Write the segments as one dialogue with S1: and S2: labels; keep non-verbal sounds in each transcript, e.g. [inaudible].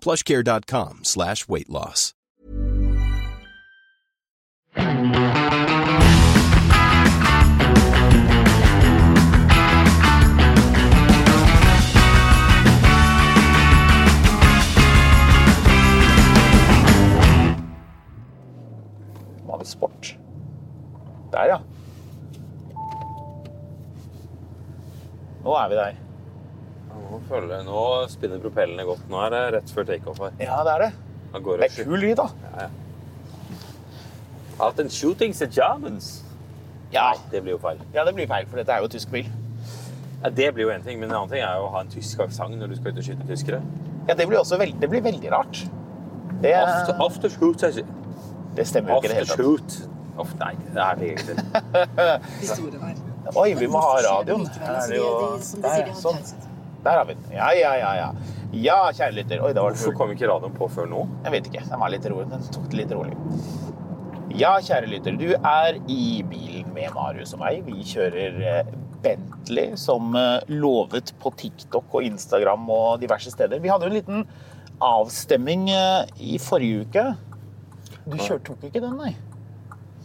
S1: Plushcare.com slash weight loss.
S2: Hva med sport? Der, ja. Nå er vi der.
S3: Nå, føler jeg, nå spinner propellene godt. Nå er det rett før takeoff her.
S2: Ja, det er det.
S3: Nå går
S2: Det
S3: det
S2: er kul lyd, da.
S3: Out and shooting the Germans.
S2: Ja,
S3: Nei, det blir jo feil.
S2: ja det blir feil, for dette er jo tysk bil.
S3: Ja, det blir jo en ting, men en annen ting er jo å ha en tysk aksent når du skal ut og skyte tyskere.
S2: Ja, det blir også veldig, det blir veldig rart. Det,
S3: After, after shoot, sier jeg.
S2: det stemmer jo ikke i det
S3: After
S2: hele tatt.
S3: shoot. Uff, nei, det her fikk jeg ikke til.
S4: historien her.
S2: Oi, vi må ha radioen.
S4: Likevel,
S2: Her er
S4: altså, de-
S2: det jo...
S4: de- som de
S2: Der,
S4: sier,
S2: ja,
S4: de har
S2: sånn.
S4: pauset.
S2: Der har vi den. Ja, ja, ja, ja. Ja, kjære lytter. Oi, det var
S3: Hvorfor
S2: det
S3: kom ikke radioen på før nå?
S2: Jeg vet ikke. Den var litt rolig. Den tok det litt rolig. Ja, kjære lytter. Du er i bilen med Marius og meg. Vi kjører eh, Bentley, som eh, lovet på TikTok og Instagram og diverse steder. Vi hadde jo en liten avstemming eh, i forrige uke. Du kjør, tok ikke den, nei?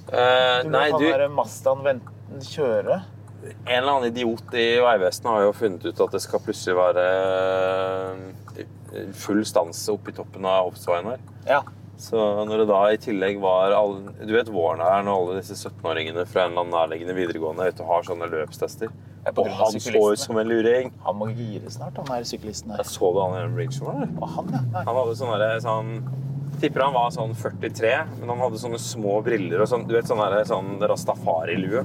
S3: Eh,
S2: Du
S3: nei,
S2: lot
S3: du,
S2: han
S3: en
S2: derre Mazdaen vente- kjøre.
S3: eller annen idiot i Vegvesenet har jo funnet ut at det skal plutselig være eh, full stans oppi toppen av hoppsveien her.
S2: Ja.
S3: Så når det da i tillegg var alle, Du vet våren er når alle disse 17-åringene fra en eller annen nærliggende videregående er ute og har sånne løpstester.
S2: på
S3: Og
S2: grunn av
S3: han så
S2: syklistene.
S3: ut som en luring.
S2: Han må gire snart, han der syklisten her.
S3: Jeg så du han i den bridgen, eller?
S2: Å, han, ja. Nei.
S3: Han hadde sånne der, sånn Tipper han var sånn 43, men han hadde sånne små briller og sånn, du vet, sånn der- sånn rastafari-lue.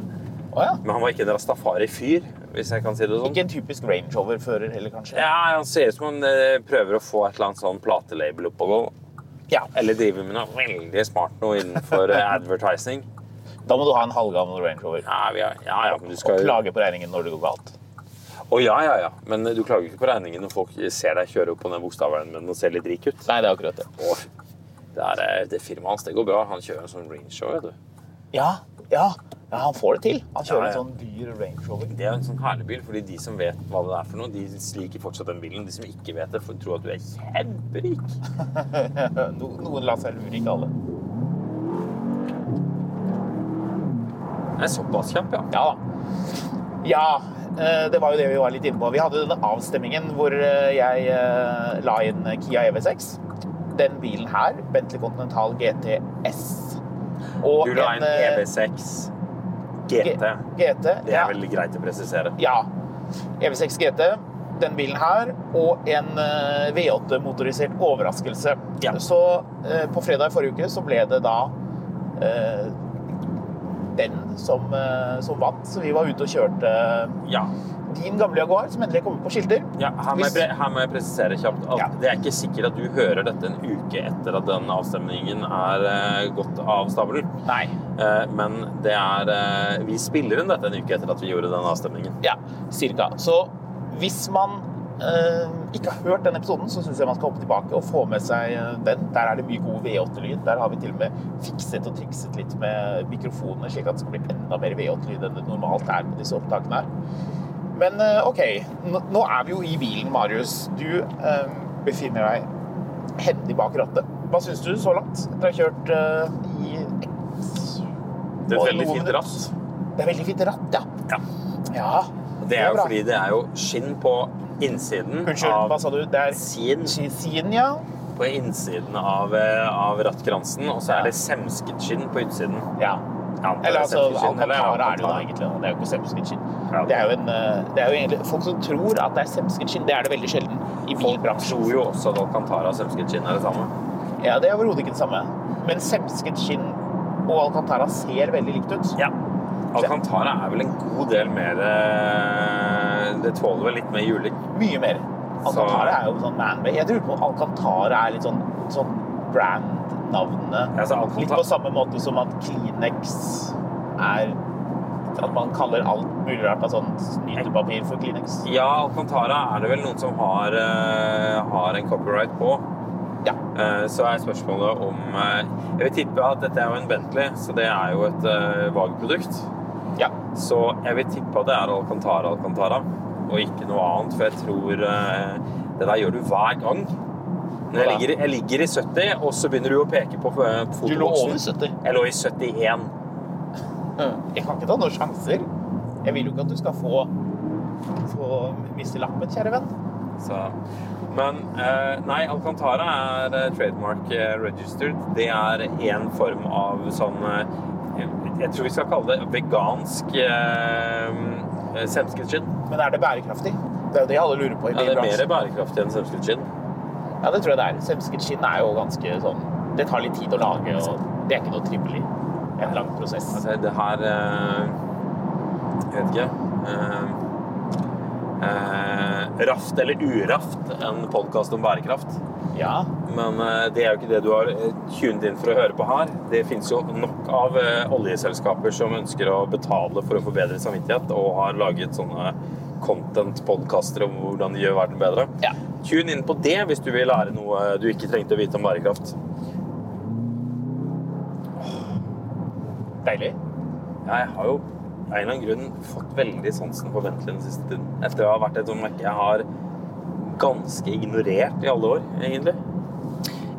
S2: Å, ja.
S3: Men han var ikke en rastafari-fyr, hvis jeg kan si det sånn.
S2: Ikke en typisk Range Rover-fører heller, kanskje?
S3: Ja, han ser ut som han eh, prøver å få et eller annet sånn platelabel opp og gå.
S2: Ja.
S3: Eller driver med noe veldig smart noe
S2: [laughs]
S3: innenfor eh, advertising.
S2: Da må du ha en halvgammel Range Rover.
S3: Ja, vi er, ja, ja, men du
S2: Og
S3: skal jo
S2: klage på regningen når det går galt.
S3: Å, ja, ja, ja. Men eh, du klager ikke på regningen når folk ser deg kjøre opp på den bokstaveren men og ser litt rik ut.
S2: Nei, det er akkurat det.
S3: Å, det, er, eh, det firmaet hans, det går bra. Han kjører en sånn Range Rover, vet du.
S2: Ja, ja, ja han får det til. Han kjører
S3: Ja, ja.
S2: en sånn dyr Range Rover. [laughs]
S3: Det er jo en sånn herlig bil, fordi de som vet hva det er for noe, de liker fortsatt den bilen. De som ikke vet det, får tro at du er kjemperik.
S2: No, noen lar seg lure, ikke alle.
S3: Den er såpass kjapp, ja.
S2: Ja da. Ja, eh, det var jo det vi var litt inne på. Vi hadde denne avstemmingen hvor eh, jeg eh, la inn Kia EV6. Den bilen her, Bentley Continental GTS. Og
S3: Du la inn
S2: eh,
S3: EV6 GT.
S2: GT.
S3: Det er veldig greit å presisere.
S2: Ja. E EV6 GT, den bilen her, og en eh, V8-motorisert overraskelse.
S3: Ja.
S2: Så eh, på fredag i forrige uke så ble det da eh, den som, eh, som vant. Så vi var ute og kjørte eh,
S3: Ja.
S2: din gamle Jaguar, som endelig kom ut på skilter.
S3: Ja, her, må jeg, pre- her må jeg presisere kjapt at
S2: Ja.
S3: det er ikke sikkert at du hører dette en uke etter at den avstemningen er eh, gått av stabelen.
S2: Nei.
S3: Eh, men det er eh, Vi spiller inn dette en uke etter at vi gjorde den avstemningen.
S2: Ja, cirka. Så hvis man eh, ikke har hørt den episoden, så syns jeg man skal hoppe tilbake og få med seg eh, den. Der er det mye god V8-lyd. Der har vi til og med fikset og trikset litt med mikrofonene, slik at det skal bli enda mer V8-lyd enn det normalt er på disse opptakene her. Men eh, OK, nå nå er vi jo i bilen, Marius. Du eh, befinner deg hendig bak rattet. Hva syns du så langt? Etter å ha kjørt eh, i Oi,
S3: Det er et veldig
S2: noe
S3: fint
S2: minutt.
S3: rass.
S2: Det er veldig fint ratt, ja.
S3: Ja.
S2: ja
S3: Det er jo
S2: bra.
S3: fordi det er jo skinn på innsiden
S2: Unnskyld, hva
S3: av
S2: sa du? Det er
S3: sin
S2: Siden, ja.
S3: på innsiden av, eh, av rattkransen, og så
S2: Ja.
S3: er det semsket skinn på utsiden.
S2: Ja.
S3: Ja, det er
S2: Eller altså,
S3: semsket skinn, eller
S2: Alcantara er det jo da
S3: Alcantara.
S2: egentlig. da. Det er jo ikke semsket skinn.
S3: Ja.
S2: Det er jo en eh, Det er jo egentlig folk som tror at det er semsket skinn. Det er det veldig sjelden i
S3: Folk
S2: bilbransjen.
S3: tror jo også at Alcantara og semsket skinn er det samme.
S2: Ja, det er overhodet ikke det samme. Men semsket skinn og Alcantara ser veldig likt ut.
S3: Ja. Alcantara er vel en god del mer eh, Det tåler vel litt mer juling.
S2: Mye mer. Alcantara
S3: Så-
S2: er jo sånn man-made. Jeg lurer på om Alcantara er litt sånn, sånn brand-navnet.
S3: Ja, så Alcantara-
S2: Litt på samme måte som at Kleenex er At man kaller alt mulig rart av sånn snytepapir for Kleenex.
S3: Ja, Alcantara er det vel noen som har, eh, har en copyright på.
S2: Ja.
S3: Eh, så er spørsmålet om eh, Jeg vil tippe at dette er jo en Bentley, så det er jo et uh, vageprodukt.
S2: ja.
S3: Så jeg vil tippe at det er Alcantara Alcantara, og ikke noe annet. For jeg tror eh, Det der gjør du hver gang. Når jeg
S2: Hva da?
S3: ligger, jeg ligger i 70, og så begynner du å peke på eh,
S2: Du lå over
S3: fotoboksen.
S2: 70.
S3: Jeg lå i 71.
S2: Jeg kan ikke ta noen sjanser. Jeg vil jo ikke at du skal få, få miste lappen, kjære venn.
S3: Så. Men eh, nei, Alcantara er eh, trademark eh, registered. Det er én form av sånn eh, Jeg tror vi skal kalle det vegansk eh, semsket skinn.
S2: Men er det bærekraftig? Det er jo det alle lurer på i
S3: Ja, det er mer
S2: bilbransjen.
S3: bærekraftig enn semsket skinn.
S2: Ja, det tror jeg det er. Semsket skinn er jo ganske sånn Det tar litt tid å lage, og det er ikke noe trivelig. En lang prosess.
S3: Altså, det her eh, Jeg vet ikke. eh, eh, raft eller uraft, en podkast om bærekraft.
S2: Ja.
S3: Men eh, det er jo ikke det du har eh, tunet inn for å høre på her. Det finnes jo nok av eh, oljeselskaper som ønsker å betale for å få bedre samvittighet, og har laget sånne content-podkaster om hvordan de gjør verden bedre.
S2: Ja.
S3: Tune inn på det hvis du vil lære noe eh, du ikke trengte å vite om bærekraft.
S2: Deilig.
S3: Jeg har jo av en eller annen grunn fått veldig sansen for Bentley den siste tiden. Etter å ha vært et sånt merke jeg har ganske ignorert i alle år, egentlig.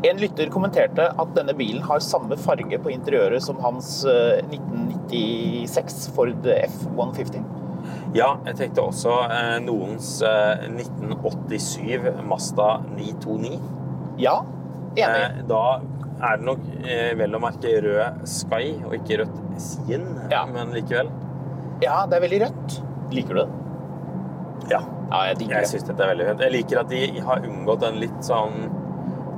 S2: En lytter kommenterte at denne bilen har samme farge på interiøret som hans eh, 1996 Ford F150.
S3: Ja, jeg tenkte også eh, noens eh, 1987 Mazda 929.
S2: Ja, enig.
S3: Eh, da er det nok eh, vel å merke rød Sky og ikke rødt Sien,
S2: Ja.
S3: men likevel.
S2: Ja, det er veldig rødt. Liker du det?
S3: Ja,
S2: Ja, jeg digger
S3: jeg
S2: det.
S3: syns dette er veldig fint. Jeg liker at de har unngått en litt sånn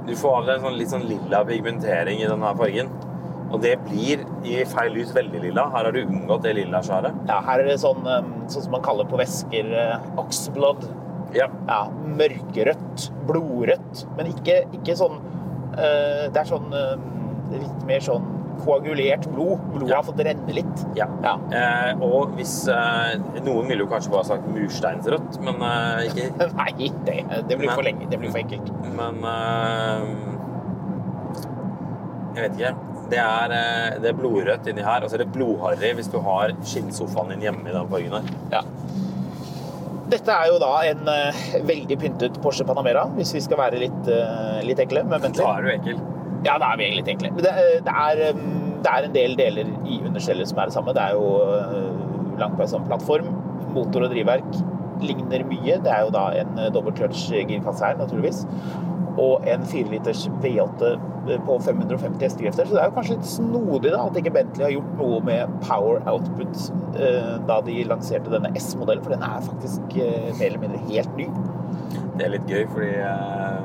S3: Du får en sånn, litt sånn lilla pigmentering i denne fargen. Og det blir i feil lys veldig lilla. Her har du unngått det lilla skjæret.
S2: Ja, her er det sånn, eh, sånn som man kaller på væsker eh, oxblood.
S3: Ja.
S2: ja, mørkerødt, blodrødt, men ikke, ikke sånn eh, Det er sånn eh, litt mer sånn koagulert blod. Blodet
S3: Ja.
S2: har fått renne litt.
S3: Ja.
S2: Ja. [laughs]
S3: Eh, og hvis eh, Noen ville jo kanskje bare sagt mursteinsrødt, men eh, ikke
S2: Nei, det, det blir
S3: Men-
S2: for lenge. Det blir for enkelt.
S3: Men eh, Jeg vet ikke. Det er, eh, det er blodrødt inni her, og så er det blodharry hvis du har skinnsofaen din hjemme i den fargen her.
S2: Ja. Dette er jo da en eh, veldig pyntet Porsche Panamera, hvis vi skal være litt, eh, litt ekle. Men vent
S3: Da
S2: litt.
S3: er du ekkel.
S2: Ja, da er vi egentlig litt ekle. Men Det, eh, det, er, eh, det er en del deler i understellet som er det samme. Det er jo eh, langt på en sånn plattform. Motor og drivverk ligner mye. Det er jo da en eh, dobbeltkløtsj girkasse her, naturligvis. Og en 4-liters V8 eh, på 550 hestekrefter. Så det er jo kanskje litt snodig da, at ikke Bentley har gjort noe med power output eh, da de lanserte denne S-modellen, for den er faktisk eh, mer eller mindre helt ny.
S3: Det er litt gøy, fordi eh,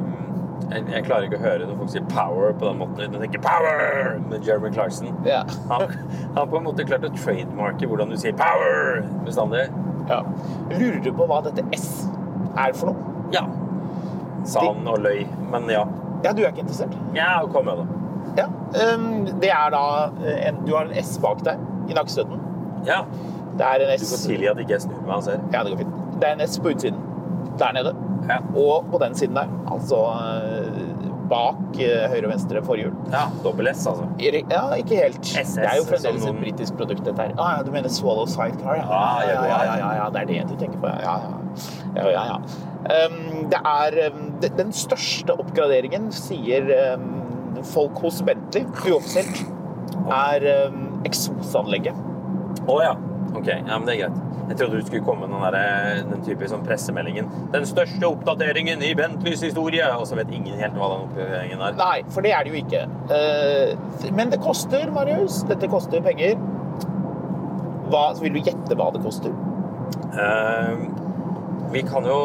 S3: jeg, jeg klarer ikke å høre når folk sier 'power' på den måten. uten å tenke 'power' med Jeremy Clarkson.
S2: Ja.
S3: Han
S2: [laughs]
S3: han har på en måte klart å trademarke hvordan du sier 'power' bestandig.
S2: Ja. Lurer du på hva dette S er for noe?
S3: Ja. Sa han og løy. Men ja.
S2: Ja, du er ikke interessert?
S3: Ja, kom med, da.
S2: Ja. Ehm, det er da eh, en, Du har en S bak deg i nakkestøtten.
S3: Ja.
S2: Det er en
S3: Du får
S2: S
S3: tilgi at ikke jeg snur meg og ser.
S2: Ja, det går fint. Det er en S på utsiden der nede.
S3: Ja.
S2: Og på den siden der, altså eh, bak eh, høyre og venstre forhjul.
S3: ja. Dobbel S, altså.
S2: Erik- Ja, ikke helt.
S3: SS,
S2: det er jo
S3: som
S2: fremdeles
S3: noen-
S2: et britisk produkt, dette her. Ah, ja, du mener Swallow Sidecar, ja.
S3: Ah, ja,
S2: ja, ja,
S3: ja, ja.
S2: ja, ja, ja, det er det du tenker på. Ja, ja, ja. ja, ja. Um, det er um, de- den største oppgraderingen, sier um, folk hos Bentley, uoffisielt, er um, eksosanlegget.
S3: Å ja. OK. Ja, men det er greit. Jeg trodde du skulle komme med den, der, den type sånn pressemeldingen. 'Den største oppdateringen i Bentleys historie', og så vet ingen helt hva den oppdateringen er.
S2: Nei, for det er det jo ikke. Eh, Men det koster, Marius. Dette koster penger. Hva, så vil du gjette hva det koster?
S3: Eh, vi kan jo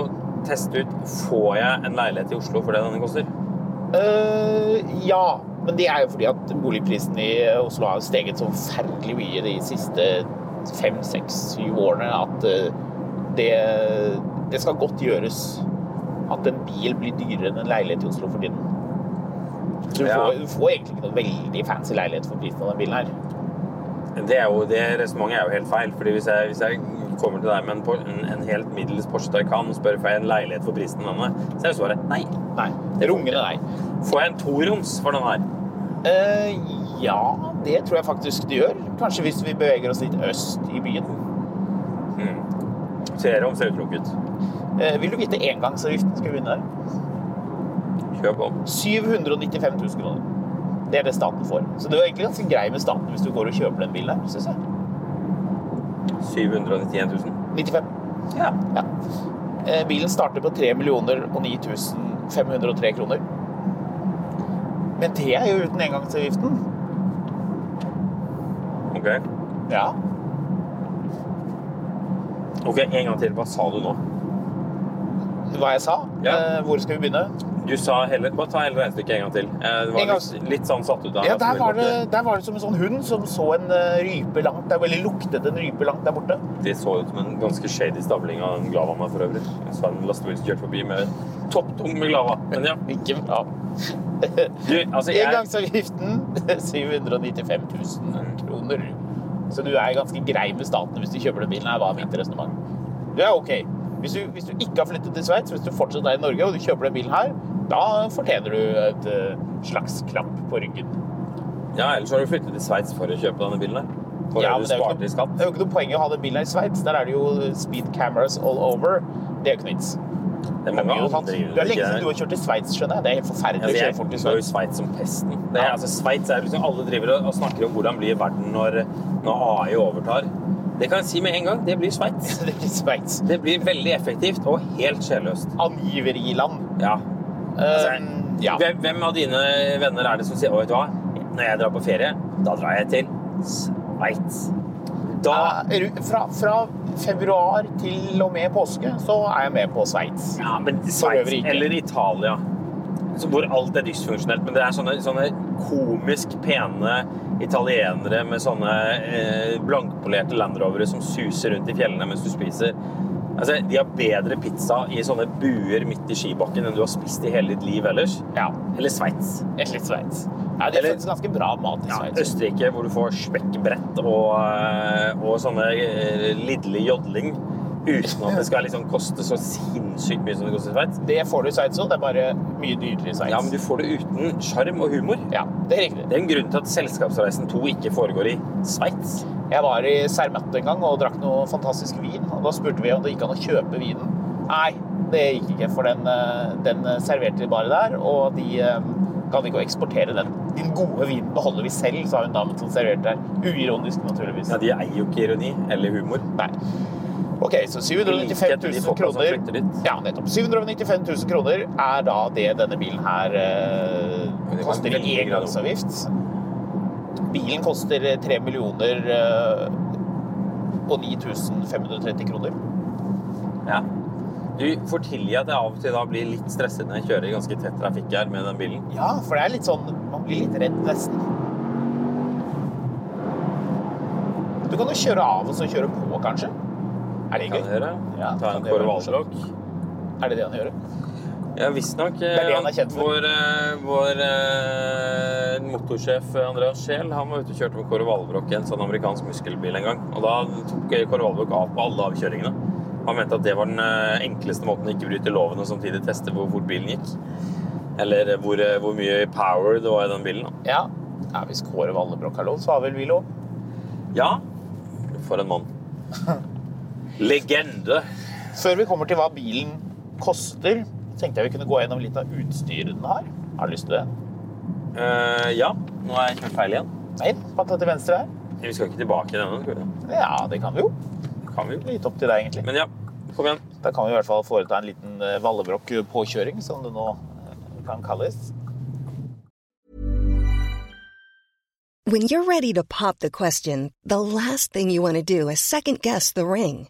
S3: teste ut Får jeg en leilighet i Oslo for det denne koster?
S2: Eh, ja, men det er jo fordi at boligprisen i Oslo har steget så forferdelig mye de siste fem, seks, syv årene at eh, det, det skal godt gjøres at en bil blir dyrere enn en leilighet i Oslo for tiden. Så du,
S3: Ja.
S2: får, du får egentlig ikke noen veldig fancy leilighet for prisen av den bilen her.
S3: Det, er jo- det resonnementet er jo helt feil. fordi hvis jeg, hvis jeg kommer til deg med en, por- en, en helt middels Porsche Taycan og spør får jeg en leilighet for prisen av denne, så er jo svaret nei.
S2: Nei, rungende nei.
S3: Får jeg en toroms for den her?
S2: Eh, ja, det tror jeg faktisk det gjør. Kanskje hvis vi beveger oss litt øst i byen.
S3: Trerom ser utelukket.
S2: Eh, vil du vite engangsavgiften skal vi begynne der?
S3: Kjør på.
S2: 795 000 kroner. Det er det staten får. Så det var egentlig ganske grei med staten hvis du går og kjøper den bilen her, synes jeg.
S3: 791 000.
S2: 95.
S3: Ja.
S2: Ja. Eh, bilen starter på 3 millioner og 9503 kroner. Men det er jo uten engangsavgiften.
S3: Ok.
S2: Ja.
S3: Ok, En gang til. Hva sa du nå?
S2: Hva jeg sa?
S3: Ja.
S2: Eh, hvor skal vi begynne?
S3: Du sa heller, Bare ta hele regnestykket en gang til. Eh, Det
S2: En
S3: var
S2: gang-
S3: litt, litt sånn satt ut. av
S2: Ja,
S3: at
S2: der
S3: vi
S2: var,
S3: måtte-
S2: det, der var det som en sånn hund som så en eh, rype langt der, eller luktet en rype langt der borte.
S3: Det så ut som en ganske shady stabling av en glava meg for øvrig. Jeg så en lastebil som kjørte forbi med topptung med glava. Men ja.
S2: Ikke bra.
S3: Du, altså jeg
S2: [laughs] Engangsavgiften 795 000 kroner. Så du er ganske grei med staten hvis du kjøper den bilen. her, var mitt resonnement. Du er ok. Hvis du, hvis du ikke har flyttet til Sveits, hvis du fortsatt er i Norge og du kjøper den bilen her, da fortjener du et eh, slags klapp på ryggen.
S3: Ja, ellers har du flyttet til Sveits for å kjøpe denne bilen her. For
S2: Ja,
S3: du
S2: men det er, jo ikke
S3: sparte i
S2: noe,
S3: skatt.
S2: det er jo ikke noe poeng i å ha den bilen her i Sveits. Der er det jo speed cameras all over. Det er jo ikke noe vits.
S3: Det er
S2: Det er
S3: mange
S2: mye å ta.
S3: andre i
S2: Det er lenge siden du har kjørt til Sveits, skjønner jeg. Det er helt forferdelig å
S3: Altså,
S2: kjøre fort
S3: jeg
S2: til
S3: går jo
S2: Sveits.
S3: Sveits som pesten. Det er,
S2: Ja.
S3: altså, Sveits er liksom, Alle driver og og snakker om hvordan blir verden når, når AI overtar. Det kan jeg si med en gang. Det blir Sveits.
S2: [laughs] Det blir Sveits.
S3: Det blir veldig effektivt og helt sjelløst.
S2: Angiveriland.
S3: Ja. Altså,
S2: Um, ja.
S3: hvem- Hvem av dine venner er det som sier «Å, vet du hva, når jeg drar på ferie, da drar jeg til Sveits? Da
S2: Ja, ru- fra, fra februar til og med påske så er jeg med på Sveits.
S3: Ja, men
S2: øvrig
S3: Sveits
S2: ikke.
S3: eller Italia. Så Hvor alt er dysfunksjonelt. Men det er sånne, sånne komisk pene italienere med sånne eh, blankpolerte landrovere som suser rundt i fjellene mens du spiser. Altså, De har bedre pizza i sånne buer midt i skibakken enn du har spist i hele ditt liv ellers.
S2: Ja,
S3: Eller Sveits.
S2: et litt Sveits. Ja, det
S3: Eller-
S2: finnes ganske bra mat i
S3: Ja,
S2: Sveits.
S3: Østerrike, hvor du får spekkbrett og, eh, og sånne eh, lidderlig jodling uten at det skal liksom koste så sinnssykt mye som det koster i Sveits.
S2: Det får du i Sveits òg, det er bare mye dyrere i Sveits.
S3: Ja, men du får det uten sjarm og humor.
S2: Ja, det er riktig.
S3: Det er en grunn til at Selskapsreisen 2 ikke foregår i Sveits.
S2: Jeg var i Cermet en gang og drakk noe fantastisk vin. og Da spurte vi om det gikk an å kjøpe vinen. Nei, det gikk ikke, for den, eh, den eh, serverte de bare der, og de eh, kan ikke eksportere den. Din gode vin beholder vi selv, sa hun damen som serverte der. Uironisk, naturligvis.
S3: Ja, De eier jo ikke ironi eller humor.
S2: Nei. Ok, så
S3: Like etter
S2: 795
S3: de
S2: 000
S3: folka som
S2: kroner
S3: flytter dit.
S2: Ja, nettopp. 795 000 kroner er da det denne bilen her eh,
S3: det var
S2: koster i
S3: veldig grad opp.
S2: engangsavgift. Bilen koster 3 millioner eh, og 9530 kroner.
S3: Ja. Du får tilgi at jeg av og til da blir litt stresset når jeg kjører i ganske tett trafikk her med den bilen.
S2: Ja, for det er litt sånn Man blir litt redd, nesten. Du kan jo kjøre av og så kjøre på, kanskje. Er det
S3: Kan jeg
S2: gøy?
S3: gjøre?
S2: Ja,
S3: Ta
S2: kan
S3: en
S2: det være
S3: korvalbrok.
S2: Er det det han gjør?
S3: Ja, visstnok.
S2: er det han er kjent for.
S3: Vår, eh, vår eh, motorsjef Andreas Scheel han var ute og kjørte med Corvalbrok i en sånn amerikansk muskelbil en gang. Og da tok Corvalbrok av på alle avkjøringene. Han mente at det var den eh, enkleste måten å ikke bryte loven og samtidig teste hvor fort bilen gikk. Eller hvor, eh, hvor mye power det var i den bilen. da.
S2: Ja. ja. Hvis Kåre Vallebrokk har lov, så har vel vi lov.
S3: Ja, for en
S2: [laughs]
S3: mann. Legende.
S2: Før vi kommer til hva bilen koster, tenkte jeg vi kunne gå gjennom litt av utstyret den har. Har du lyst til det?
S3: Eh, ja, nå har jeg kjørt feil igjen.
S2: Nei, bare ta til venstre her.
S3: Vi skal ikke tilbake i denne. skal vi?
S2: Ja, det kan vi jo.
S3: Kan vi jo.
S2: Litt opp til deg, egentlig.
S3: Men ja, kom igjen.
S2: Da kan vi i hvert fall foreta en liten eh, Vallebrokk-påkjøring, som det nå eh, kan kalles.
S4: When you're ready to pop the question, the last thing you want to do is second guess the ring.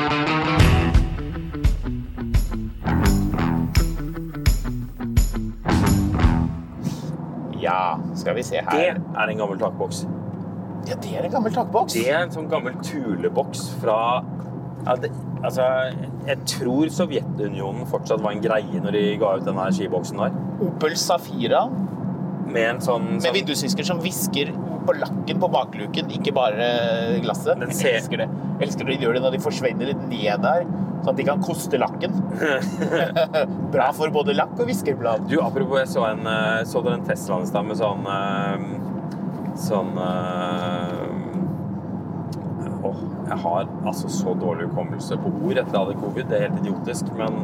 S2: Ja, skal vi se
S3: Det
S2: her.
S3: er en gammel takboks.
S2: Ja, det er en gammel takboks.
S3: Det er en sånn gammel tuleboks fra ja, det, Altså, jeg tror Sovjetunionen fortsatt var en greie når de ga ut denne skiboksen der.
S2: Opel Safira
S3: Med en sånn,
S2: med
S3: sånn
S2: vindusvisker som hvisker på lakken på bakluken, ikke bare glasset.
S3: Den ser-
S2: Jeg elsker det. Jeg elsker når de gjør det når de forsvinner litt ned der, sånn at de kan koste
S3: [laughs]
S2: lakken. Bra for både lakk og viskerblad.
S3: Du, apropos, jeg så, en, eh, så dere en Tesla i stad med sånn eh, Sånn eh, Åh, jeg har altså så dårlig hukommelse på ord etter at jeg hadde covid. Det er helt idiotisk, men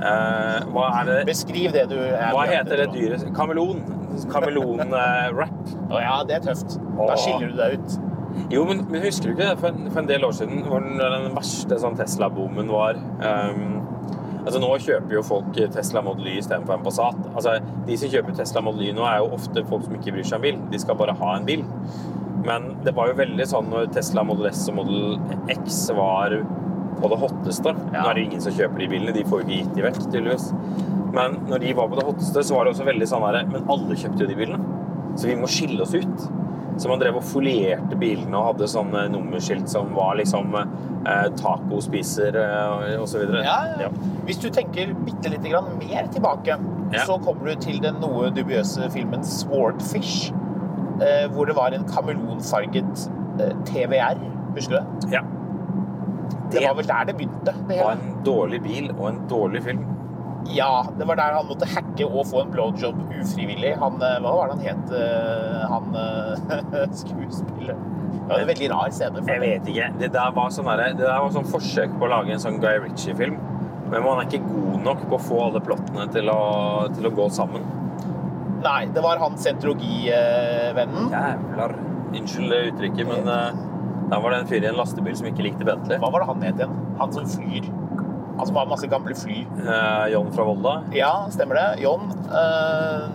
S3: eh, Hva er det
S2: Beskriv det du er
S3: Hva
S2: på jakt
S3: heter det
S2: etter nå.
S3: dyret? Kameleon. Kameleon-rap.
S2: Å ja, det er tøft. Da
S3: Åh.
S2: skiller du deg ut.
S3: Jo, men, men husker du ikke det? For en, for en del år siden, hvor den, når den verste sånn Tesla-boomen var ehm, Altså, nå kjøper jo folk Tesla Model Y istedenfor en Passat. Altså, de som kjøper Tesla Model Y nå, er jo ofte folk som ikke bryr seg om bil. De skal bare ha en bil. Men det var jo veldig sånn når Tesla Model S og Model X var på det hotteste. Nå er det ingen som kjøper de bilene, de får jo ikke gitt de vekk, tydeligvis. Men når de var på det hotteste, så var det også veldig sånn derre Men alle kjøpte jo de bilene. Så vi må skille oss ut. Så man drev og folierte bilene og hadde sånne nummerskilt som var liksom eh, taco spiser eh, og så videre.
S2: Ja, ja. Hvis du tenker bitte lite grann mer tilbake,
S3: Ja.
S2: så kommer du til den noe dubiøse filmen Swordfish, eh, hvor det var en kameleonfarget eh, TVR. Husker du det?
S3: Ja.
S2: Det var vel der det begynte. Det
S3: Det var
S2: hele.
S3: en dårlig bil og en dårlig film.
S2: Ja, det var der han måtte hacke og få en blowjob ufrivillig. Han, eh, hva var det han het, eh, han eh, [laughs] skuespilleren? Det var en veldig rar scene. for
S3: Jeg
S2: meg.
S3: vet ikke. Det der var sånn, derre- det der var sånn forsøk på å lage en sånn Guy Ritchie-film. Men man er ikke god nok på å få alle plottene til å, til å gå sammen.
S2: Nei, det var han sentrologivennen.
S3: Jævlar. Unnskyld uttrykket, men eh, der var det en fyr i en lastebil som ikke likte Bentley.
S2: Hva var det han het igjen? Han som flyr. Han som har masse gamle fly.
S3: Eh, John fra Volda.
S2: Ja, stemmer det. John. eh,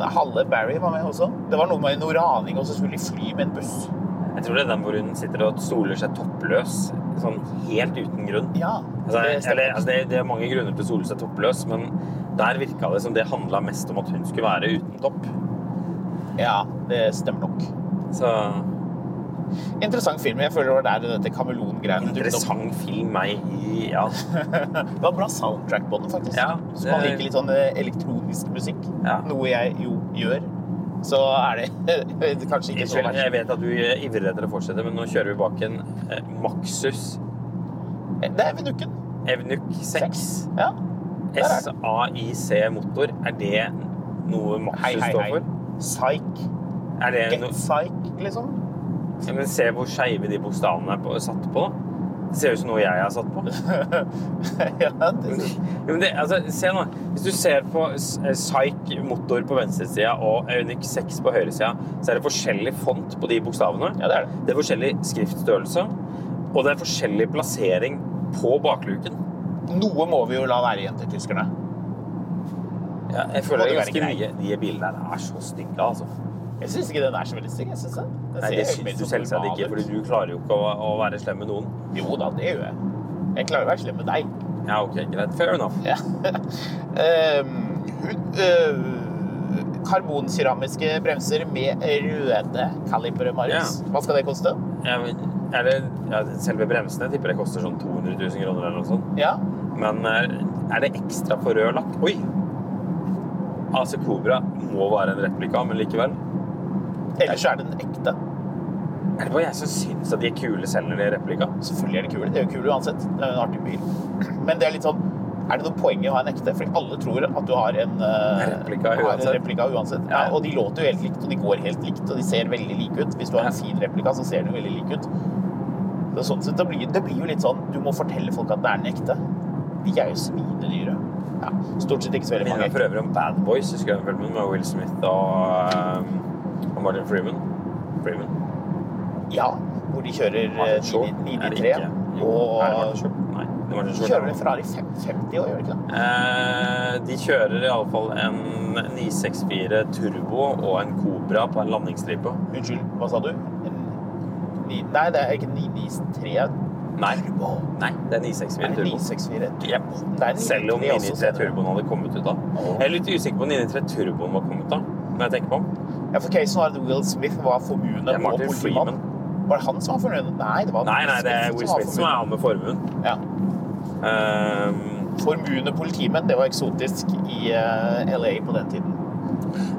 S2: Halle Barry var med også. Det var noe med noe raning, og så skulle de fly med en buss.
S3: Jeg tror det er den hvor hun sitter og soler seg toppløs. Sånn helt uten grunn.
S2: Ja,
S3: Altså,
S2: det stemmer.
S3: eller, altså, det, det er mange grunner til å sole seg toppløs, men der virka det som det handla mest om at hun skulle være uten topp.
S2: Ja, det stemmer nok.
S3: Så
S2: Interessant film. Jeg føler det var der dette kameleongreiene dukket opp.
S3: interessant film, meg i Ja.
S2: [laughs] Det var bra soundtrack på den, faktisk.
S3: Ja,
S2: Så man
S3: det-
S2: liker litt sånn eh, elektronisk musikk,
S3: Ja.
S2: noe jeg jo gjør, så er det [laughs] kanskje [laughs] ikke så
S3: Unnskyld,
S2: verst.
S3: jeg vet at du ivrer etter å fortsette, men nå kjører vi bak en eh, Maxus
S2: Det er Venukken.
S3: Evnuk 6
S2: Ja. Der er den.
S3: SAIC-motor. Er det noe
S2: Hei,
S3: Maxus
S2: hei,
S3: står
S2: hei.
S3: for?
S2: Psych.
S3: Er det
S2: Get
S3: noe
S2: psych, liksom. [laughs]
S3: Ja, Men se hvor skeive de bokstavene er på, satt på. da. Det ser ut som noe jeg har satt på.
S2: ja, det,
S3: Ja, men det, altså, se nå. Hvis du ser på eh, Psyche motor på venstresida og Eunic 6 på høyresida, så er det forskjellig font på de bokstavene.
S2: Ja, det er det.
S3: Det er forskjellig skriftstørrelse, og det er forskjellig plassering på bakluken.
S2: noe må vi jo la være igjen til tyskerne.
S3: Ja, jeg føler
S2: Må
S3: det er
S2: det
S3: ganske
S2: være
S3: mye. De bilene der er så stygge, altså.
S2: Jeg syns ikke den er så veldig stygg. jeg synes det. Den
S3: Nei,
S2: ser
S3: det
S2: helt
S3: syns
S2: mer
S3: du
S2: sånn
S3: selvsagt
S2: normal
S3: ikke,
S2: ut.
S3: for du klarer jo ikke å, å være slem med noen.
S2: Jo da, det gjør jeg. Jeg klarer å være slem med deg.
S3: Ja, ok, greit. Fair enough.
S2: Ja. [laughs] Ehm, hun- øh, karbonkeramiske bremser med røde kalibere, Marius.
S3: Ja.
S2: Hva skal det koste?
S3: Jeg, er det, ja, selve bremsene tipper det koster sånn 200 000 kroner eller noe sånt.
S2: Ja.
S3: Men er, er det ekstra for rød lakk? Oi! AC Cobra må være en replika, men likevel.
S2: Ellers er det den ekte.
S3: Er det bare jeg som syns at de er kule selv når de er replika?
S2: Selvfølgelig er det kul. Det er jo kul uansett. Det er jo en artig bil. Men det er litt sånn Er det noe poeng i å ha en ekte? Fordi alle tror at du har en, eh,
S3: En replika
S2: har en
S3: uansett.
S2: replika uansett.
S3: Ja.
S2: Ja, og de låter jo helt likt, og de går helt likt, og de ser veldig like ut. Hvis du har en
S3: Ja.
S2: fin replika, så ser den jo veldig lik ut. Så sånn sett, det, blir, det blir jo litt sånn Du må fortelle folk at det er en ekte. De er jo svinedyre. Ja, stort sett ikke så veldig
S3: Minner
S2: mange
S3: meg for øvrig om Bad Boys, husker jeg den filmen med Will Smith og, eh, og Martin Freeman. Freeman.
S2: Eh, Ja, hvor de kjører eh,
S3: Martin Shaw?
S2: 993.
S3: Er det ikke? Jo, er det Martin Shaw? Nei. Det er
S2: De
S3: Martin Shaw.
S2: kjører vel en Ferrari 550 òg, gjør de ikke det?
S3: Eh, de kjører iallfall en 964 Turbo og en Cobra på en landingsstripe.
S2: Unnskyld, hva sa du? En ni- Nei, det er ikke 993.
S3: Nei.
S2: Turbo.
S3: Nei, det er
S2: Er
S3: 964
S2: det
S3: Turbo.
S2: 964?
S3: Jep.
S2: Det er en
S3: Selv
S2: 993
S3: om
S2: også,
S3: 993
S2: senere.
S3: Turboen hadde kommet ut da. Jeg er litt usikker på om 993 Turboen var kommet da. Når jeg tenker på den.
S2: Ja, for casen var at Will Smith var formuen
S3: Det er
S2: og
S3: Martin
S2: politimann. Var det han som var formuen? Nei, det var
S3: Nei, nei, det er Will Smith som er han med formuen.
S2: formuen. Ja.
S3: Eh,
S2: Formuen og politimenn, det var eksotisk i eh, LA på den tiden.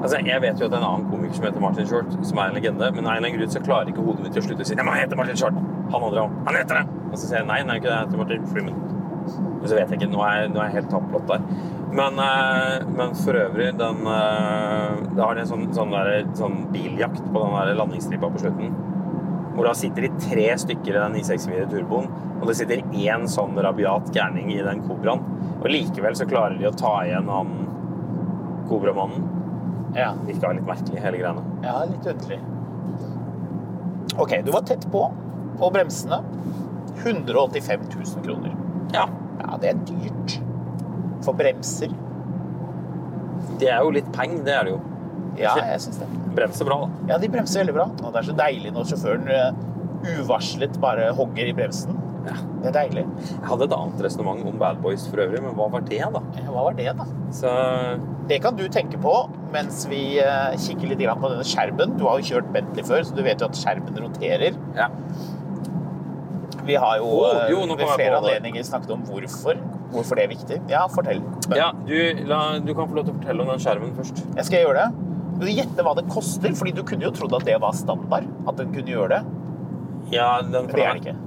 S3: altså, jeg vet jo at det er en annen komiker som heter Martin Short, som er en legende, men av en eller annen grunn så klarer ikke hodet mitt til å slutte å si «Ja, men han heter Martin Short! Han andre òg! Han heter det! Og så sier jeg nei, han er ikke det, han heter Martin Freeman. Men så vet jeg ikke, nå er, jeg- nå er jeg helt tappblått der. Men, eh, men for øvrig, den eh, Da har de en sånn, sånn, der, sånn biljakt på den der landingsstripa på slutten. Hvor da sitter de tre stykker i den 964 turboen, og det sitter én sånn rabiat gærning i den kobraen. Og likevel så klarer de å ta igjen han kobramannen.
S2: Ja,
S3: Virka litt merkelig, hele greiene.
S2: ja litt underlig. Ok, du var tett på på bremsene. 185 000 kroner.
S3: Ja.
S2: Ja, det er dyrt. For bremser.
S3: Det er jo litt peng, det er det jo.
S2: Ja, jeg syns det.
S3: Bremser bra, da.
S2: Ja, de bremser veldig bra. Og det er så deilig når sjåføren eh, uvarslet bare hogger i bremsen.
S3: Ja.
S2: Det er deilig.
S3: Jeg hadde et annet resonnement om Bad Boys for øvrig, men hva var det, da?
S2: Eh, Hva var det, da?
S3: Så
S2: Det kan du tenke på mens vi eh, kikker litt grann på denne skjermen. Du har jo kjørt Bentley før, så du vet jo at skjermen roterer.
S3: ja.
S2: Vi har jo,
S3: Å,
S2: eh,
S3: jo, nå
S2: ved
S3: kom jeg
S2: flere
S3: på det.
S2: anledninger snakket om hvorfor. Hvorfor det er viktig. Ja, fortell. Men
S3: ja du, la, du kan få lov til å fortelle om den skjermen først.
S2: Jeg skal gjøre det. Vil du gjette hva det koster? Fordi du kunne jo trodd at det var standard. At den kunne gjøre det.
S3: Ja, den
S2: Men det er det ikke.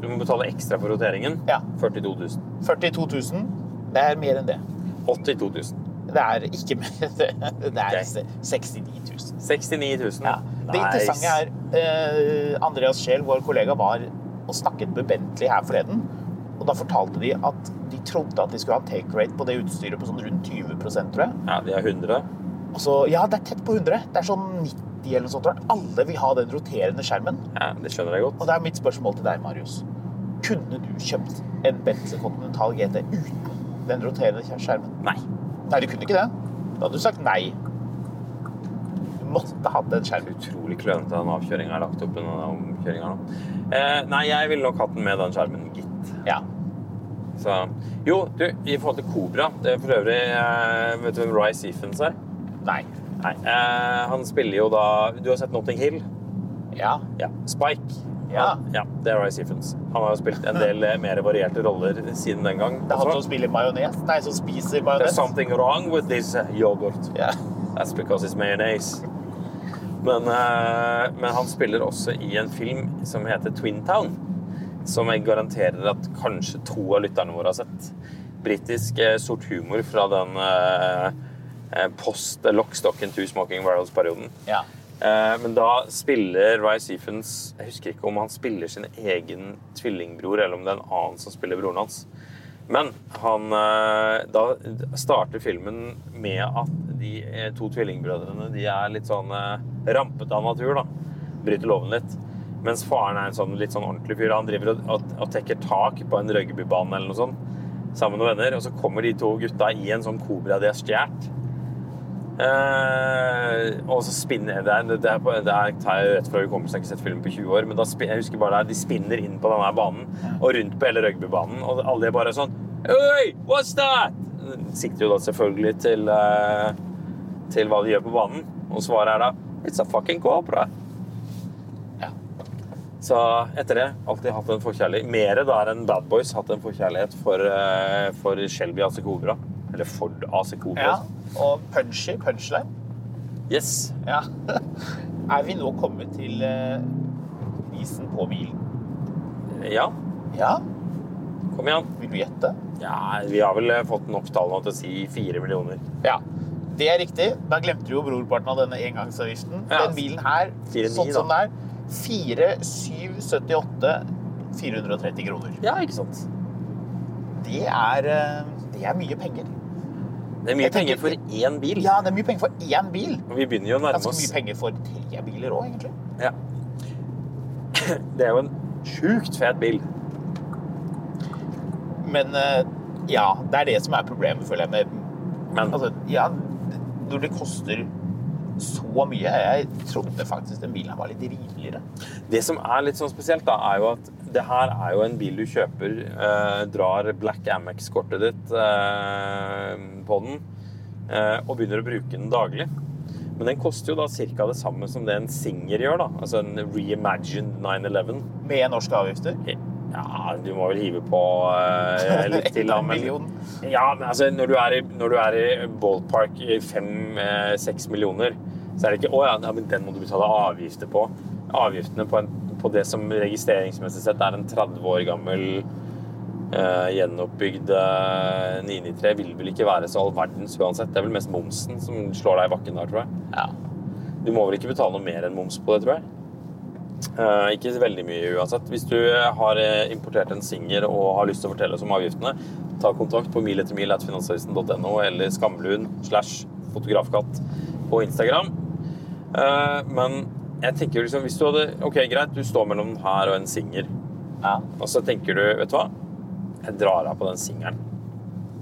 S3: Du må betale ekstra for roteringen.
S2: Ja.
S3: 42 000.
S2: 42 000. Det er mer enn det.
S3: 82 000.
S2: Det er ikke mer enn det. Det er
S3: Ok.
S2: 69 000.
S3: 69 000.
S2: Ja. Det interessante er eh, Andreas Scheel, vår kollega, var og snakket med Bentley her forleden. Og da fortalte de at de trodde at de skulle ha en take rate på det utstyret på sånn rundt 20 tror jeg.
S3: Ja, de er 100.
S2: Og så, ja, det er tett på 100. Det er sånn 90 eller noe sånt. tror jeg. Alle vil ha den roterende skjermen.
S3: Ja, det skjønner jeg godt.
S2: Og det er mitt spørsmål til deg, Marius. Kunne du kjøpt en Bentley Continental GT uten den roterende skjermen?
S3: Nei.
S2: Nei, du kunne ikke det. Da hadde du sagt nei. Du måtte hatt den skjermen.
S3: Utrolig klønete den avkjøringa jeg har lagt opp. i denne omkjøringen nå. Eh, nei, jeg ville nok hatt den med den skjermen, gitt.
S2: Ja.
S3: Så, jo, du, i forhold til Cobra det er For øvrig, eh, vet du hvem Rye Seafens er?
S2: Nei.
S3: Nei. Eh, han spiller jo da Du har sett Notting Hill?
S2: Ja.
S3: Ja. Spike.
S2: Ja.
S3: Han, ja det er Rye Seafens. Han har jo spilt en del eh, mer varierte roller siden den gang.
S2: Det er han
S3: også.
S2: som spiller majones. Nei, som spiser majones.
S3: There's something wrong with this eh, yoghurt.
S2: Ja.
S3: That's because it's mayonnaise. Men, eh, men han spiller også i en film som heter Twin Town. Som jeg garanterer at kanskje to av lytterne våre har sett. Britisk eh, sort humor fra den eh, eh, post Lock, Stock and Two Smoking Barrels-perioden.
S2: ja.
S3: Eh, men da spiller Rye Seafens Jeg husker ikke om han spiller sin egen tvillingbror, eller om det er en annen som spiller broren hans. Men han eh, Da starter filmen med at de eh, to tvillingbrødrene De er litt sånn eh, rampete av natur, da. Bryter loven litt. Mens faren er en sånn, litt sånn ordentlig fyr. Han driver og, og, og tekker tak på en rugbybane eller noe sånt sammen med noen venner. Og så kommer de to gutta i en sånn kobra de har stjålet. Eh, og så spinner det er, det, er, på- det er tar jeg rett fra hukommelsen, jeg har ikke sett filmen på 20 år, men da spin, jeg husker bare der, de spinner inn på denne banen og rundt på hele rugbybanen, og alle er bare sånn Oi, what's that? Sikter jo da selvfølgelig til, eh, til hva de gjør på banen, og svaret er da It's a fucking cobra.
S2: Ja.
S3: Så etter det alltid hatt en forkjærlighet. Mere da enn Bad Boys hatt en forkjærlighet for, eh, for Shelby AC Cobra. Eller Ford AC Cobra.
S2: Ja, og punchy, punchline.
S3: Yes.
S2: Ja. [laughs] Er vi nå kommet til eh, isen på bilen?
S3: Ja,
S2: Ja.
S3: kom igjen.
S2: Vil du gjette?
S3: Ja, vi har vel eh, fått nok tall nå til å si fire millioner.
S2: Ja. Det er riktig. Da glemte du jo brorparten av denne engangsavgiften.
S3: Ja.
S2: Den bilen her,
S3: 4,9
S2: sånn som
S3: da.
S2: den er, 4778 430 kroner.
S3: Ja, ikke sant?
S2: Det er, eh, det er mye penger.
S3: Det er mye
S2: Jeg tenker-
S3: penger for én bil.
S2: Ja, det er mye penger for én bil.
S3: Og vi begynner jo å nærme
S2: Ganske
S3: oss
S2: mye penger for tre biler òg, egentlig.
S3: Ja. [laughs] Det er jo en sjukt fet bil.
S2: Men eh, ja, det er det som er problemet, føler jeg. Med,
S3: Men
S2: altså, ja, når det koster så mye Jeg trodde faktisk den bilen her var litt rimeligere.
S3: det som er litt sånn spesielt, da, er jo at det her er jo en bil du kjøper, eh, drar Black Amex-kortet ditt eh, på den, eh, og begynner å bruke den daglig. Men den koster jo da ca. det samme som det en Singer gjør, da. Altså en reimagined 911.
S2: Med norske avgifter.
S3: Ja, du må vel hive på eh, litt til, da.
S2: [laughs] En
S3: men-
S2: million.
S3: Ja, men altså, når du er i, når du er i ballpark i fem-seks millioner, så er det ikke Å ja, ja, men den må du betale avgifter på. Avgiftene på, en, på det som registreringsmessig sett er en 30 år gammel eh, gjenoppbygd eh, 993, vil vel ikke være så all verdens uansett. Det er vel mest momsen som slår deg i bakken der, tror jeg.
S2: Ja.
S3: Du må vel ikke betale noe mer enn moms på det, tror jeg. Eh, ikke veldig mye uansett. Hvis du har eh, importert en Singer og har lyst til å fortelle oss om avgiftene, ta kontakt på mil etter mil at finansavisen.no eller skamlun slash fotografkatt på Instagram. Eh, men jeg tenker jo liksom hvis du hadde Ok, greit, du står mellom den her og en Singer.
S2: Ja.
S3: Og så tenker du, vet du hva? Jeg drar av på den singelen.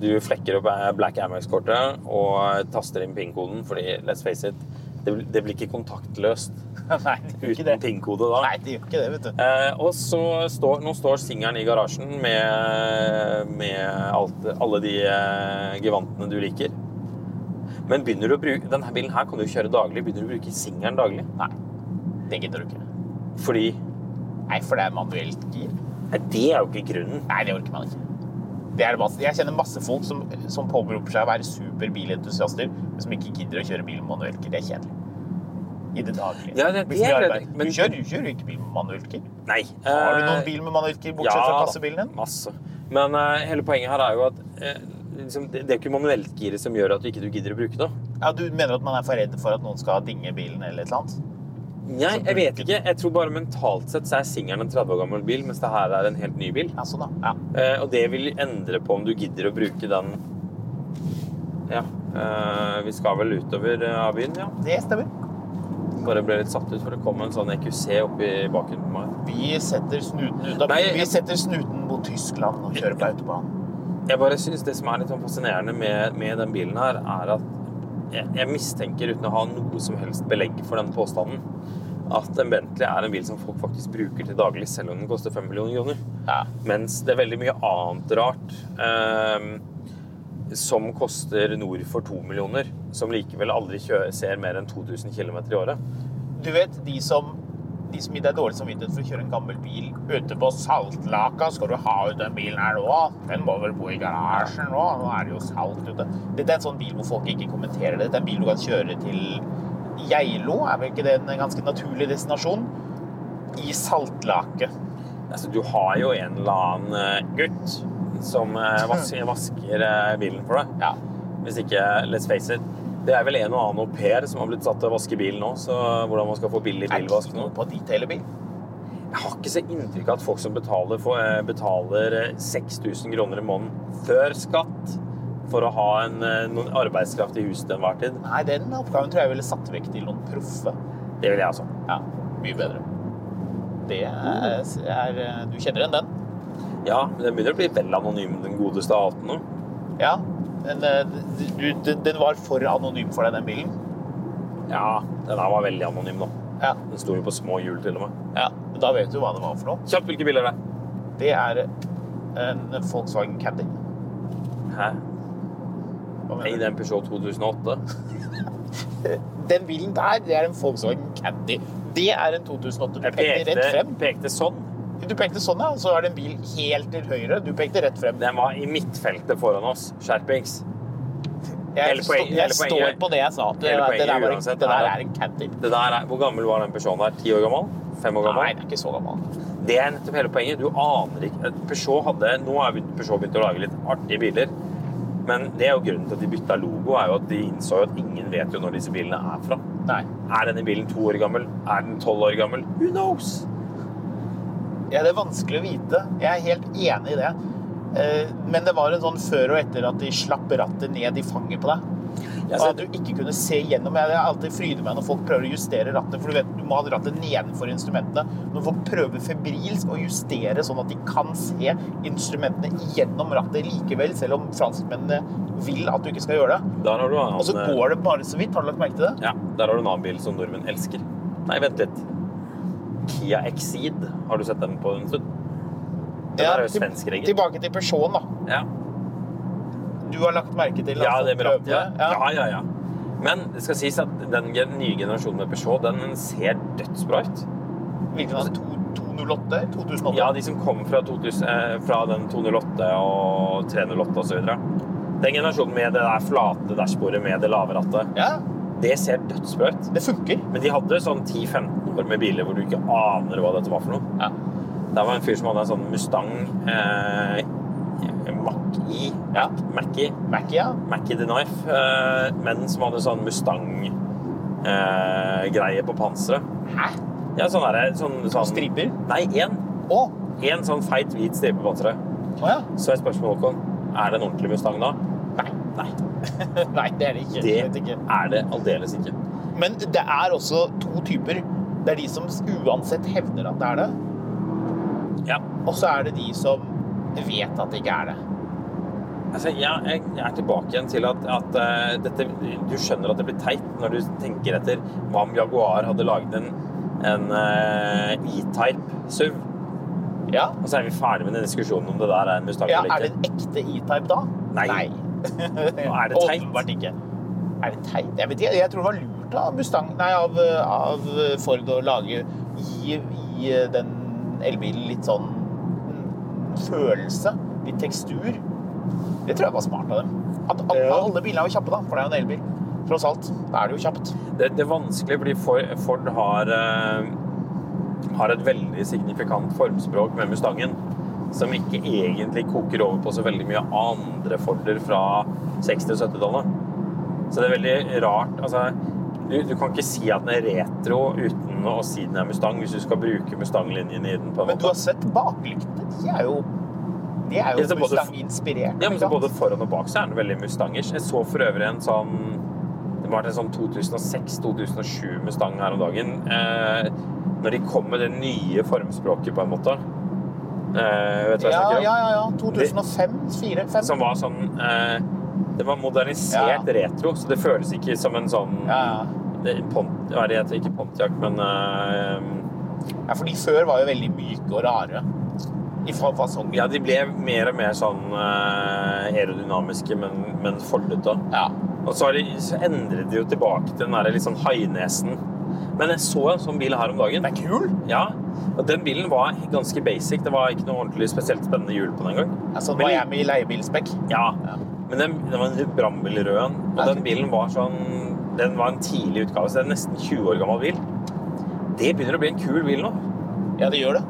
S3: Du flekker opp eh, Black Amex-kortet og eh, taster inn PIN-koden, fordi let's face it, det blir, det blir ikke kontaktløst
S2: Nei, det gjør ikke
S3: uten
S2: det.
S3: PIN-kode da.
S2: Nei, det gjør ikke det, vet du.
S3: Eh, og så står, nå står singelen i garasjen med, med alt, alle de eh, gevantene du liker. Men begynner du å bruke, denne bilen her kan du jo kjøre daglig. Begynner du å bruke singelen daglig?
S2: Nei, det gidder du ikke.
S3: Fordi
S2: Nei, for det er manuelt gir.
S3: nei, det er jo ikke grunnen.
S2: Nei, det orker man ikke. Det er det masse. Jeg kjenner masse folk som, som påberoper seg å være superbilentusiaster, men som ikke gidder å kjøre bil med manuelt gir. Det er kjedelig. I det daglige.
S3: Ja, det-
S2: Blir for
S3: det
S2: mye
S3: er det.
S2: arbeid.
S3: Men-
S2: du kjører du kjører jo ikke bil med manuelt gir.
S3: Nei.
S2: Har du
S3: eh,
S2: noen bil med manuelt gir, bortsett fra
S3: da,
S2: kassebilen din?
S3: Masse. Men eh, hele poenget her er jo at eh, liksom, det, det er ikke manueltgiret som gjør at du ikke du gidder å bruke det.
S2: Ja, du mener at man er for redd for at noen skal dinge bilen eller et eller annet?
S3: Nei, jeg vet ikke. Jeg tror bare mentalt sett så er singelen en 30 år gammel bil, mens det her er en helt ny bil.
S2: Ja, sånn da. Ja.
S3: Eh, og det vil endre på om du gidder å bruke den Ja. eh, vi skal vel utover eh, av byen, ja.
S2: Det stemmer.
S3: Bare ble litt satt ut, for det kom en sånn EQC oppi baken på meg.
S2: Vi setter snuten ut av
S3: Nei,
S2: Vi
S3: jeg-
S2: setter snuten mot Tyskland og kjører på autobanen.
S3: Jeg bare synes det som er litt sånn fascinerende med, med den bilen her, er at jeg, jeg mistenker, uten å ha noe som helst belegg for den påstanden, at en Bentley er en bil som folk faktisk bruker til daglig, selv om den koster 5 millioner kroner.
S2: Ja.
S3: Mens det er veldig mye annet rart ehm, som koster nord for 2 millioner, som likevel aldri kjø- ser mer enn 2000 km i året.
S2: Du vet, de som, de som gir deg dårlig samvittighet for å kjøre en gammel bil ute på Saltlaka Skal du ha ut den bilen her nå? Den må vel bo i garasjen nå? Nå er det jo salt ute. Dette er en sånn bil hvor folk ikke kommenterer det. Dette er en bil du kan kjøre til Geilo. Er vel ikke det en ganske naturlig destinasjon? I saltlake.
S3: Altså, du har jo en eller annen eh, gutt som eh, vasker, vasker eh, bilen for deg.
S2: Ja.
S3: Hvis ikke, let's face it, det er vel en og annen au pair som har blitt satt til å vaske bilen nå, så hvordan man skal få billig
S2: Er
S3: bilvask
S2: det
S3: nå.
S2: noe på dit hele bil?
S3: Jeg har ikke så inntrykk av at folk som betaler, for, eh, betaler eh, 6000 kroner i måneden før skatt for å ha en, eh, noen arbeidskraft i huset til enhver tid.
S2: Nei, den oppgaven tror jeg ville satt vekk til noen proffe.
S3: Det vil jeg altså. også.
S2: Ja, mye bedre. Det er,
S3: Oh.
S2: er Du kjenner igjen den?
S3: Ja, men den begynner å bli vel anonym, den godeste av alt nå.
S2: Ja. Men eh, du, du, den var for anonym for deg, den bilen.
S3: Ja, den her var veldig anonym nå.
S2: Ja.
S3: Den sto jo på små hjul til og med.
S2: ja. Da vet du hva det var for noe.
S3: Kjapt, hvilke biler er det?
S2: Det er eh, en Volkswagen Caddy.
S3: Hæ?
S2: Hva
S3: Nei, det
S2: mener du?
S3: er en Peugeot 2008.
S2: Den bilen der, det er en Volkswagen Caddy. Det er en 2008. Du
S3: Jeg
S2: pekte rett
S3: pekte,
S2: frem.
S3: pekte sånn.
S2: Du pekte sånn, ja. Så er det en bil helt til høyre. Du pekte rett frem.
S3: Den var i midtfeltet foran oss. Skjerpings.
S2: Jeg,
S3: Hele poenget-
S2: stå-
S3: hele
S2: jeg
S3: poenget-
S2: står på det jeg sa. at Det,
S3: hele
S2: det,
S3: poenget
S2: der, var en, det
S3: uansett
S2: der
S3: er
S2: er
S3: at-
S2: en Caddy.
S3: Det der er, hvor gammel var den Peugeoten her? Ti år gammel? Fem år
S2: Nei,
S3: gammel?
S2: den er ikke så gammel.
S3: Det er nettopp hele poenget. Du aner ikke at Peugeot hadde, Nå har vi- Peugeot begynt å lage litt artige biler. Men det er jo grunnen til at de bytta logo, er jo at de innså jo at ingen vet jo når disse bilene er fra.
S2: Nei.
S3: Er denne bilen to år gammel? Er den tolv år gammel? Who knows?
S2: Ja, det er vanskelig å vite. Jeg er helt enig i det. Eh, Men det var en sånn før og etter at de slapp rattet ned i fanget på deg.
S3: Jeg
S2: Og
S3: ser-
S2: at du ikke kunne se gjennom. Jeg har alltid fryder meg når folk prøver å justere rattet, for du vet, du må ha rattet nedenfor instrumentene. Når folk prøver febrilsk å justere sånn at de kan se instrumentene gjennom rattet likevel, selv om franskmennene vil at du ikke skal gjøre det.
S3: Der har du en annen, eh,
S2: Og så altså, går det bare så vidt. Har du lagt merke til det?
S3: Ja, der har du en annen bil som nordmenn elsker. Nei, vent litt. Kia Exceed. Har du sett den på en stund? Den
S2: Ja,
S3: er jo
S2: til-
S3: svensk, regel.
S2: Tilbake til Peugeoten, da.
S3: Ja.
S2: Du har lagt merke til at
S3: Ja,
S2: folk
S3: det med rattet.
S2: prøver
S3: Ja.
S2: det.
S3: ja, ja, ja. Men det skal sies at den gen- nye generasjonen med Peugeot, den ser dødsbra ut.
S2: Hvilken av de? To- 208? 2008?
S3: Ja, de som kom fra, 2000, eh, fra den 208 og 308 og så videre. Den generasjonen med det der flate dashbordet med det lave rattet,
S2: ja,
S3: det ser dødsbra ut.
S2: det funker.
S3: Men de hadde sånn 10-15 år med biler hvor du ikke aner hva dette var for noe.
S2: Ja.
S3: Der var en fyr som hadde en sånn Mustang eh, E. Mach-E.
S2: Ja.
S3: Mach-E.
S2: Mackie, ja.
S3: Mackie the Knife. Eh, men som hadde sånn Mustang-greie på panseret.
S2: Hæ?
S3: Ja, sånn derre sånn, sånn
S2: Striper?
S3: Nei, én.
S2: Å,
S3: Én sånn feit, hvit stripe på panseret.
S2: å ja.
S3: Så er spørsmålet, Håkon, er det en ordentlig Mustang da?
S2: Nei.
S3: Nei.
S2: Nei, det er det ikke.
S3: Det
S2: Slett ikke.
S3: er det aldeles ikke.
S2: Men det er også to typer. Det er de som uansett hevder at det er det,
S3: Ja.
S2: og så er det de som vet at det ikke er det.
S3: Altså, jeg, jeg, jeg er tilbake igjen til at, at eh, dette, du skjønner at det blir teit når du tenker etter hva om Jaguar hadde laget en, en eh, E-type SUV.
S2: Ja,
S3: Og så er vi ferdig med den diskusjonen om det der er en Mustang
S2: ja
S3: eller
S2: Er det
S3: ikke.
S2: en ekte E-type da?
S3: Nei. er det teit?
S2: Åpenbart ikke. Er det teit? Jeg vet ikke. Jeg tror det var lurt av Mustang Nei, av, av Ford å lage Gi, gi den elbilen litt sånn mm, følelse. Litt tekstur. Det tror jeg var smart av dem. At alle, alle biler er jo kjappe, da. For det er jo en elbil. Tross alt. Da er det jo kjapt.
S3: Det, det er vanskelig fordi For- Ford har, eh, har et veldig signifikant formspråk med Mustangen, som ikke egentlig koker over på så veldig mye andre Forder fra 60- og 70-tallet. Så det er veldig rart. Altså, du, du kan ikke si at den er retro uten å si den er Mustang, hvis du skal bruke Mustang-linjen i den. på en
S2: Men du har
S3: måte.
S2: sett baklyktene. De er jo, de er
S3: Ja,
S2: jo
S3: så både-
S2: Mustang-inspirert.
S3: Ja, men så
S2: ikke
S3: Både
S2: sant?
S3: foran og bak så er den veldig Mustangers. Jeg så for øvrig en sånn Det var en sånn 2006-2007 Mustang her om dagen. Eh, når de kom med det nye formspråket, på en måte. Eh, vet du hva jeg
S2: ja,
S3: snakker om?
S2: ja, ja, ja. 2005, 4, 5.
S3: Som var sånn eh, Det var modernisert retro, så det føles ikke som en sånn
S2: Ja, ja.
S3: det, pont, Hva er det heter? Ikke Pontiac, men eh,
S2: Ja, for de før var jo veldig myke og rare. I fa- fasongen.
S3: Ja, de ble mer og mer sånn eh, aerodynamiske, men, men fordete.
S2: Ja.
S3: Og så, har de, så endret de jo tilbake til den der litt sånn hainesen. Men jeg så en sånn bil her om dagen.
S2: Den er kul.
S3: Ja, og Den bilen var ganske basic. Det var ikke noe ordentlig spesielt spennende hjul på den engang.
S2: Altså,
S3: Men-
S2: Miami i leiebilspekk.
S3: Ja.
S2: Ja.
S3: Men den, den var en Brambil rød. en. Og den bilen var sånn Den var en tidlig utgave, så det er en nesten 20 år gammel bil. Det begynner å bli en kul bil nå.
S2: Ja, det gjør det.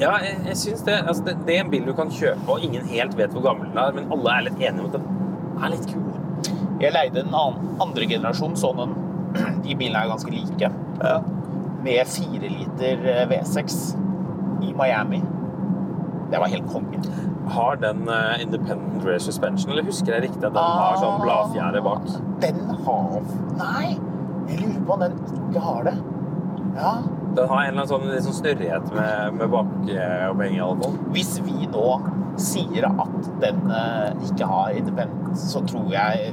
S3: Ja, jeg, jeg synes det, altså det, det er en bil du kan kjøpe, og ingen helt vet hvor gammel den er, men alle er litt enige om at den er litt kul.
S2: Jeg leide en annen, andre generasjon sånn en. [clears throat] De bilene er ganske like. Med 4 liter eh, V6 i Miami. Det var helt konge.
S3: Har den eh, independent rear suspension, eller husker jeg riktig at den har
S2: Ah.
S3: sånn bladfjære bak?
S2: Den har Nei! Jeg lurer på om den ikke har det. Ja.
S3: Den har en eller annen sånn, litt sånn snurrighet med, med bakopphengig, i alle fall.
S2: Hvis vi nå sier at den eh, ikke har independent, så tror jeg